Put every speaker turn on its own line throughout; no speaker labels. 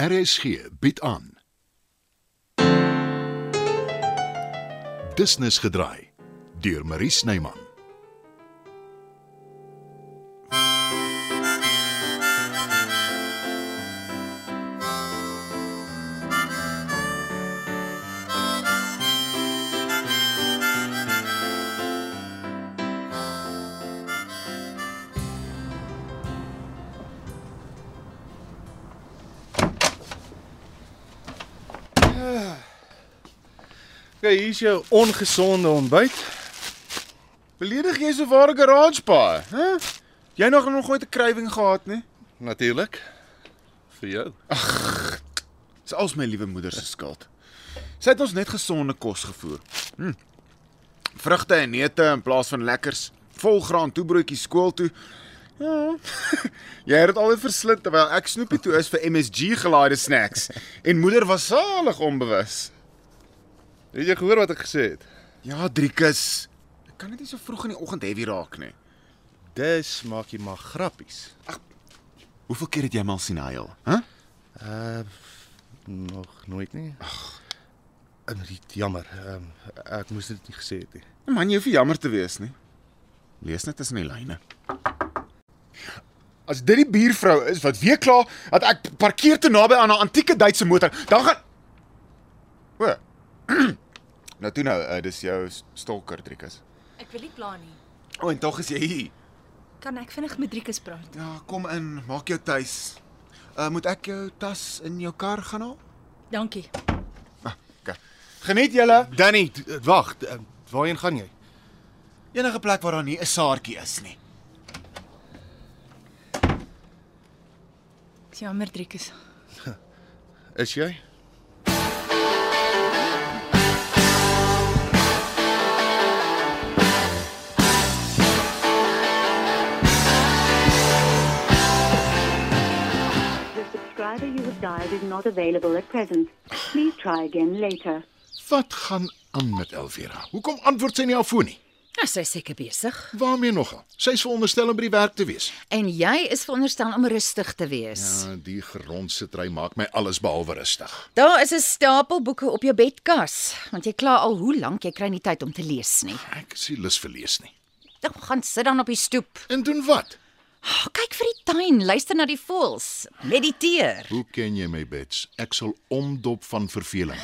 RSG bied aan. Business gedraai deur Marie Snyman.
Okay, hier's jou ongesonde ontbyt. Beledig jy so ware garage pa, hè? Jy nog nog nooit 'n krywing gehad nie?
Natuurlik. Vir jou.
Dis als my liewe moeder se skuld. Sy het ons net gesonde kos gevoer. Hm. Vrugte en neute in plaas van lekkers, volgraan toebroodjies skool toe. Ja. jy het dit altyd verslind terwyl ek snoepie toe is vir MSG gelaaide snacks en moeder was salig onbewus.
Het jy gehoor wat ek gesê het?
Ja, Driekus. Ek kan dit nie so vroeg in die oggend heavy raak nie.
Dis maak jy maar grappies.
Hoeveel keer het jy my al sien huil? Hæ?
Uh nog nooit nie. Ag. Dit jammer. Um, ek moes dit nie gesê het nie.
Nee, Man, jy hoef nie jammer te wees nie. Lees net tussen die lyne. As dit die buurvrou is wat weer kla dat ek parkeer te naby aan 'n antieke Duitse motor, dan gaan O. nou toe nou, uh, dis jou stalker Driekus.
Ek wil nie pla nie.
O, oh, en tog is jy hier.
Kan ek vinnig met Driekus praat?
Ja, kom in, maak jou tuis. Uh, moet ek jou tas in jou kar gaan haal?
Dankie.
Okay. Geniet julle.
Danny, d- d- wag. d- um, Waarheen gaan jy?
Enige plek waar daar nie 'n saartjie is nie.
Ek's jammer Driekus.
Is jy?
The subscriber you have dialed is not available at present. Please try again later.
Wat gaan aan met Elvira? Hoekom antwoord sy nie haar foon nie?
Nou sy is seker besig
Waarmee nogal? Sy is veronderstel om by die werk te wees.
en jy is veronderstel om rustig te wees. Ja.
Ja, die geronsitry maak my alles behalwe rustig.
Daar is 'n stapel boeke op jou bedkas, want jy kla al hoe lank jy kry nie tyd om te lees nie.
Ek is nie lus vir lees nie.
Dan gaan sit dan op die stoep.
En doen wat?
Oh, kyk vir die tuin, luister na die voëls, mediteer,
Hoe ken jy my bets? Ek sal omdop van verveling.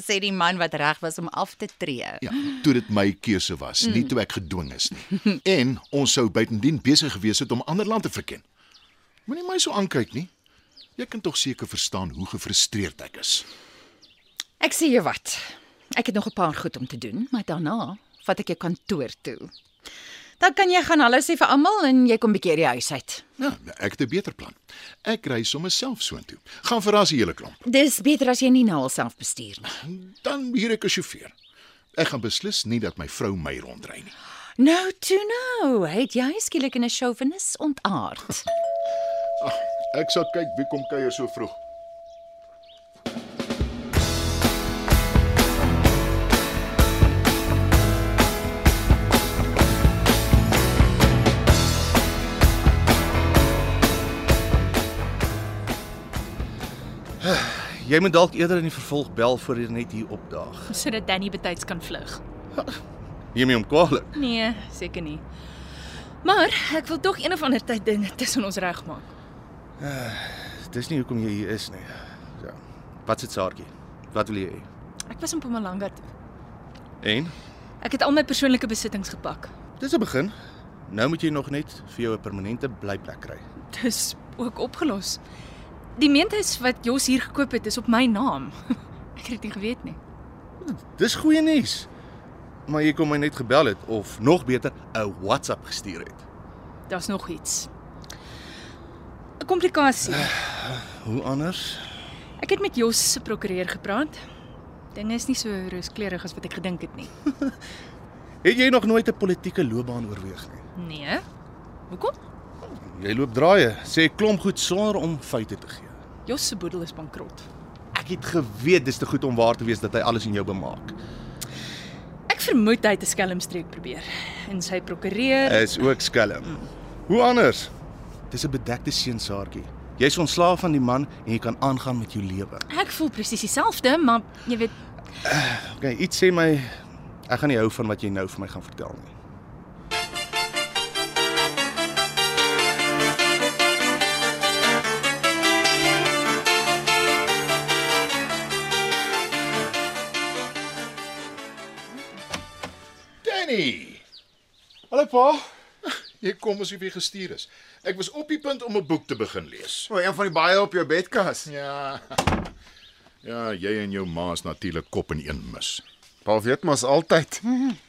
sê die man wat reg was om af te tree.
Ja, toe dit my keuse was, nie toe ek gedwing is nie. En ons sou buitendien besig gewees het om ander land te verken. Moenie my so aankyk nie. Jy kan tog seker verstaan hoe gefrustreerd ek is.
Ek sê jou wat. Ek het nog 'n paar goed om te doen, maar daarna vat ek jou kantoor toe. Dan kan jy gaan hallo sê vir almal en jy kom bietjie uit die huis uit.
Ja, ek het 'n beter plan. Ek ry sommer self soontoe. Gaan verras die hele klomp.
Dis beter as jy nie na alself bestuur nie.
Dan huur ek 'n sjofeur. Ek gaan beslis nie dat my vrou my rondry nie.
Nou toe nou, het jy skielik in 'n chauvinis ontaard.
Ek sal kyk wie kom kuier so vroeg.
Jy moet dalk eerder in die vervolg bel voor jy net hier opdaag.
Sodat Danny betyds kan vlug.
Neem jy hom kwaadlik?
Nee, seker nie. Maar ek wil tog een of ander tyd dinge tussen ons regmaak.
Dis nie hoekom jy hier is nie. Ja. Wat se saartjie? Wat wil jy hê?
Ek was in Mpumalanga toe.
En?
Ek het al my persoonlike besittings gepak.
Dis 'n begin. Nou moet jy nog net vir jou 'n permanente blyplek kry.
Dis ook opgelos. Die meentuis wat Jos hier gekoop het, is op my naam. ek het dit nie geweet nie.
Dis goeie nuus. Maar jy kom my net gebel het of nog beter 'n WhatsApp gestuur het.
Daar's nog iets. 'n Komplikasie.
Hoe anders?
Ek het met Jos se prokureur gepraat. Dinge is nie so rooskleurig as wat ek gedink het nie.
Het jy nog nooit 'n politieke loopbaan oorweeg nie?
Nee. Hoekom?
Jy loop draaie, sê klomp goed sonder om feite te gee.
Jos se boedel is bankrot.
Ek het geweet dis te goed om waar te wees dat hy alles in jou bemaak.
Ek vermoed hy het 'n skelmstreek probeer en sy prokureur
Is ook skelm. Hoe anders? Dis 'n bedekte seunsaartjie. Jy's ontslaaf van die man en jy kan aangaan met jou lewe.
Ek voel presies dieselfde, maar jy weet,
Okay, iets sê my ek gaan nie hou van wat jy nou vir my gaan vertel nie.
Danny,
Hallo pa.
jy kom asof jy gestuur is. Ek was op die punt om 'n boek te begin lees.
O, een van die baie op jou bedkas.
Ja. Ja, jy en jou ma is natuurlik kop in een mis.
Pa weet mos altyd.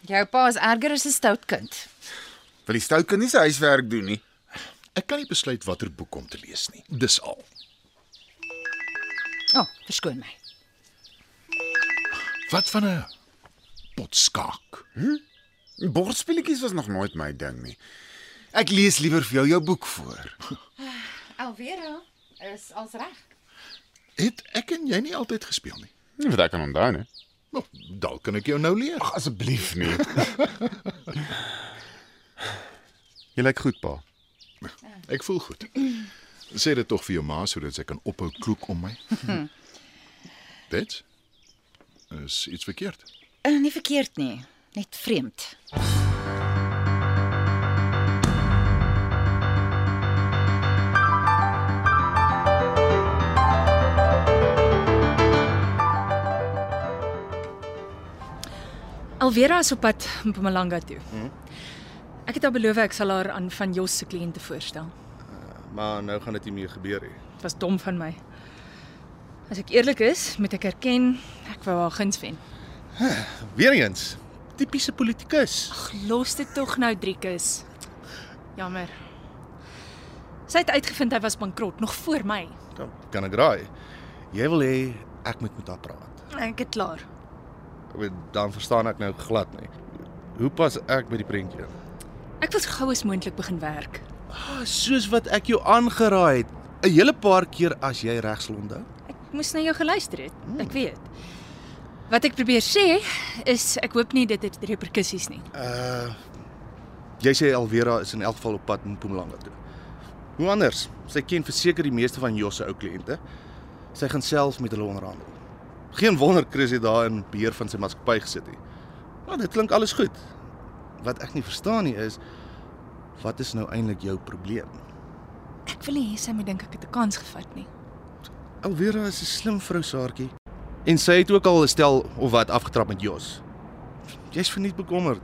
Jou pa is erger as 'n stout kind.
Wil die stout kan nie sy huiswerk doen nie.
Ek kan nie besluit watter boek om te lees nie. Dis al.
O, oh, verskoon my.
Wat van 'n potskaak?
Bordspelletjies was nog nooit my ding nie. Ek lees liewer vir jou jou boek voor.
Alvera is als reg.
Het ek en jy nie altyd gespeel nie?
Nie wat ek kan onthou nie.
Nou, dalk kan ek jou nou leer.
Asseblief nie. Jy lyk goed, pa.
Ek voel goed. Sê dit tog vir jou ma sodat sy kan ophou kloek om my. Dit is iets verkeerd.
Uh, nie verkeerd nie, net vreemd.
Alvera is op pad Mpumalanga toe. Ek het haar beloof ek sal haar aan van Jos se kliënte voorstel.
Maar nou gaan dit nie meer gebeur nie.
Dit was dom van my. As ek eerlik is, moet ek erken ek wou haar guns wen.
Weereens, tipiese politikus.
Ag, los dit tog nou Driekus. Jammer. Sy het uitgevind hy was bankrot nog voor my.
Dan Nou, kan ek raai. Jy wil hê ek moet met haar praat.
Ek het klaar.
Ek weet, Dan verstaan ek nou glad nie. Hoe pas ek by die prentjie?
Ek wil so gou as moontlik begin werk.
Ah, soos wat ek jou aangeraai het, 'n hele paar keer as jy reg sal onthou.
Ek moes na jou geluister het. Ek weet. Wat ek probeer sê is ek hoop nie dit het reperkusies nie.
Uh jy sê Alvera is in elk geval op pad na Mpumalanga toe. Hoe anders? Sy ken verseker die meeste van Jos se ou kliënte. Sy gaan self met hulle onderhandel. Geen wonder Chris het daar in beheer van sy maatskappy gesit het. Maar dit klink alles goed. Wat ek nie verstaan nie is wat is nou eintlik jou probleem?
Ek wil nie hê sy moet dink ek het 'n kans gevat nie.
Alvera is 'n slim vrou saartjie en sy het ook al 'n stel of wat afgetrap met Jos. Jy's verniet bekommerd.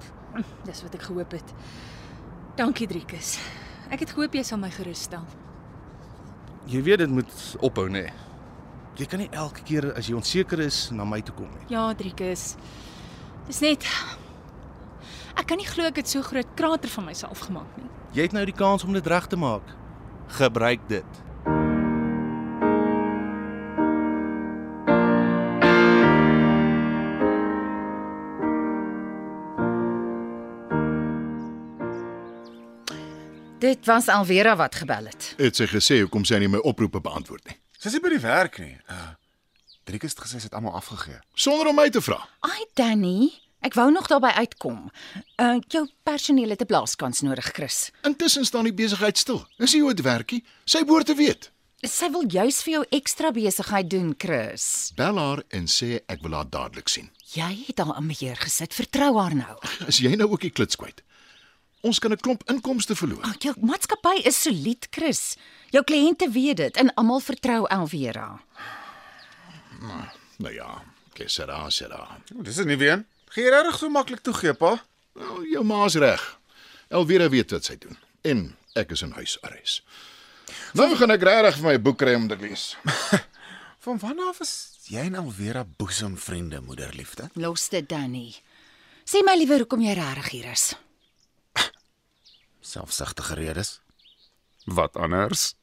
Dis wat ek gehoop het. Dankie Driekus. Ek het gehoop jy sal my gerus stel.
Jy weet dit moet ophou nê. Jy kan nie elke keer as jy onseker is na my toe kom nie.
Ja, Driekus. Dis net Ek kan nie glo ek het so groot krater van myself gemaak nie.
Jy het nou die kans om dit reg te maak. Gebruik dit.
Dit was Alvera wat gebel het.
Het sy gesê hoekom sy nie my oproepe beantwoord nie
Sy sê by die werk nie. Uh, Driekus het gesê sy het almal afgegee.
sonder om my te vra.
Ai Danny, ek wou nog daarby uitkom. Uh jou personeel het 'n blaaskans nodig, Chris.
Intussen staan die besigheid stil. Is jy oud werkie? Sy behoort te weet.
Sy wil juis vir jou ekstra besigheid doen, Chris.
Bel haar en sê ek wil haar dadelik sien.
Jy het haar in beheer gesit, vertrou haar nou.
Is jy nou ook die klits kwyt? Ons kan 'n klomp inkomste verloor.
Ag, jou maatskappy is solied, Chris. Jou kliënte weet dit en almal vertrou Alvera.
Nou ja, kesera, sera.
O, dis 'n nuwe een. Gee regtig so maklik toe gee, pa?
Nou, jou ma's reg. Elwera weet wat sy doen en ek is in huisarrest.
Nou gaan ek regtig vir my boek kry om te lees. Van wanneer af is jy en Alvera boesemvriende, moederliefde?
Los dit, Danny. Sê my liewer hoekom jy regtig hier is.
Selfsugtige redes. Wat anders?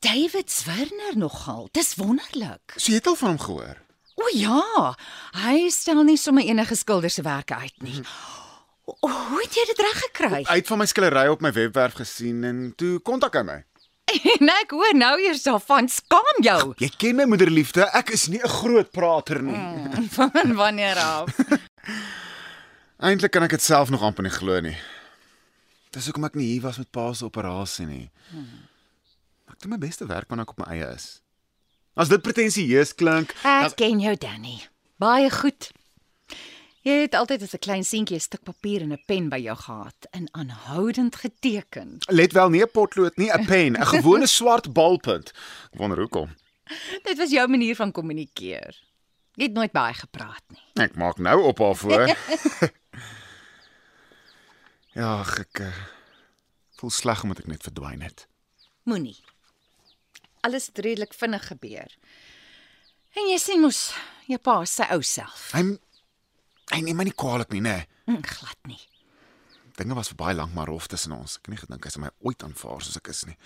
David Swirner nogal. Dis wonderlik.
So jy het al van hom gehoor.
O ja, hy stel nie sommer enige skilder se werke uit nie. O, hoe het jy dit reg gekry?
Hy het van my skildery op my webwerf gesien en toe kontak hy my.
En ek hoor nou eers daarvan. Skaam jou.
Jy ken my moederliefde, ek is nie 'n groot prater nie.
Van wanneer af?
Eintlik kan ek dit self nog amper nie glo nie. Dis hoekom ek nie hier was met pa se operasie nie. Ek doen my beste werk wanneer ek op my eie is. As dit pretensieus klink,
Ek ken jou Danny. Baie goed. Jy het altyd as 'n klein seentjie 'n stuk papier en 'n pen by jou gehad en aanhoudend geteken.
let wel nie 'n potlood nie, 'n pen, 'n gewone swart balpunt. Ek wonder hoekom.
Dit was jou manier van kommunikeer. Jy het nooit baie gepraat nie.
Ek maak nou op haar voor. ja, ag, ek eh, voel sleg omdat ek net verdwyn het.
Moenie. Alles het redelik vinnig gebeur. En jy sien mos jou pa is sy ou self.
Hy hy neem my nie kwaadlik nie, né?
Mm, Glad nie.
Dinge was vir baie lank maar rof tussen ons. Ek het nie gedink hy sou my ooit aanvaar soos ek is nie.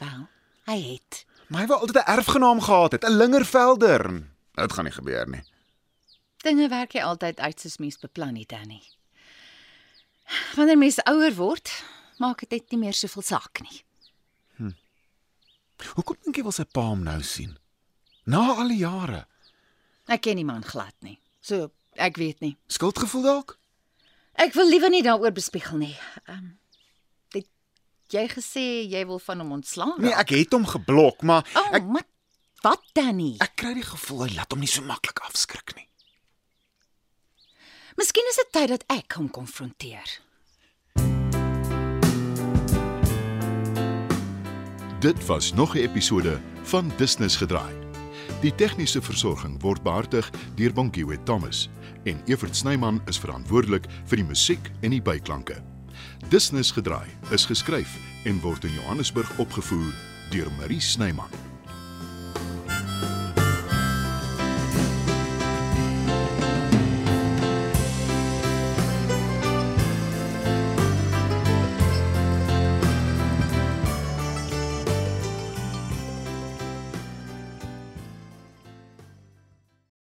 Wel, hy het.
Maar hy wou altyd 'n erfgenaam gehad het, 'n lingervelder. Dit gaan nie gebeur nie.
Dinge werk jy altyd uit soos mens beplan het, Danny. Wanneer mens ouer word, maak dit net nie meer soveel saak nie.
Hoekom dink jy wil sy pa hom nou sien? Na al die jare.
Ek ken die man glad nie. So, ek weet nie.
Skuldgevoel dalk?
Ek wil liewer nie daaroor bespiegel nie. Ehm um, het jy gesê jy wil van hom ontslaan?
Nee, ek het hom geblok, maar
Ja. Oh,
ek
maar wat Danny?
ek kry die gevoel hy laat hom nie so maklik afskrik nie.
Miskien is dit tyd dat ek hom konfronteer.
Dit was nog 'n episode van Business Gedraai. Die tegniese versorging word behartig deur Bongiwet Thomas en Evert Snyman is verantwoordelik vir die musiek en die byklanke. Business Gedraai is geskryf en word in Johannesburg opgevoer deur Marie Snyman.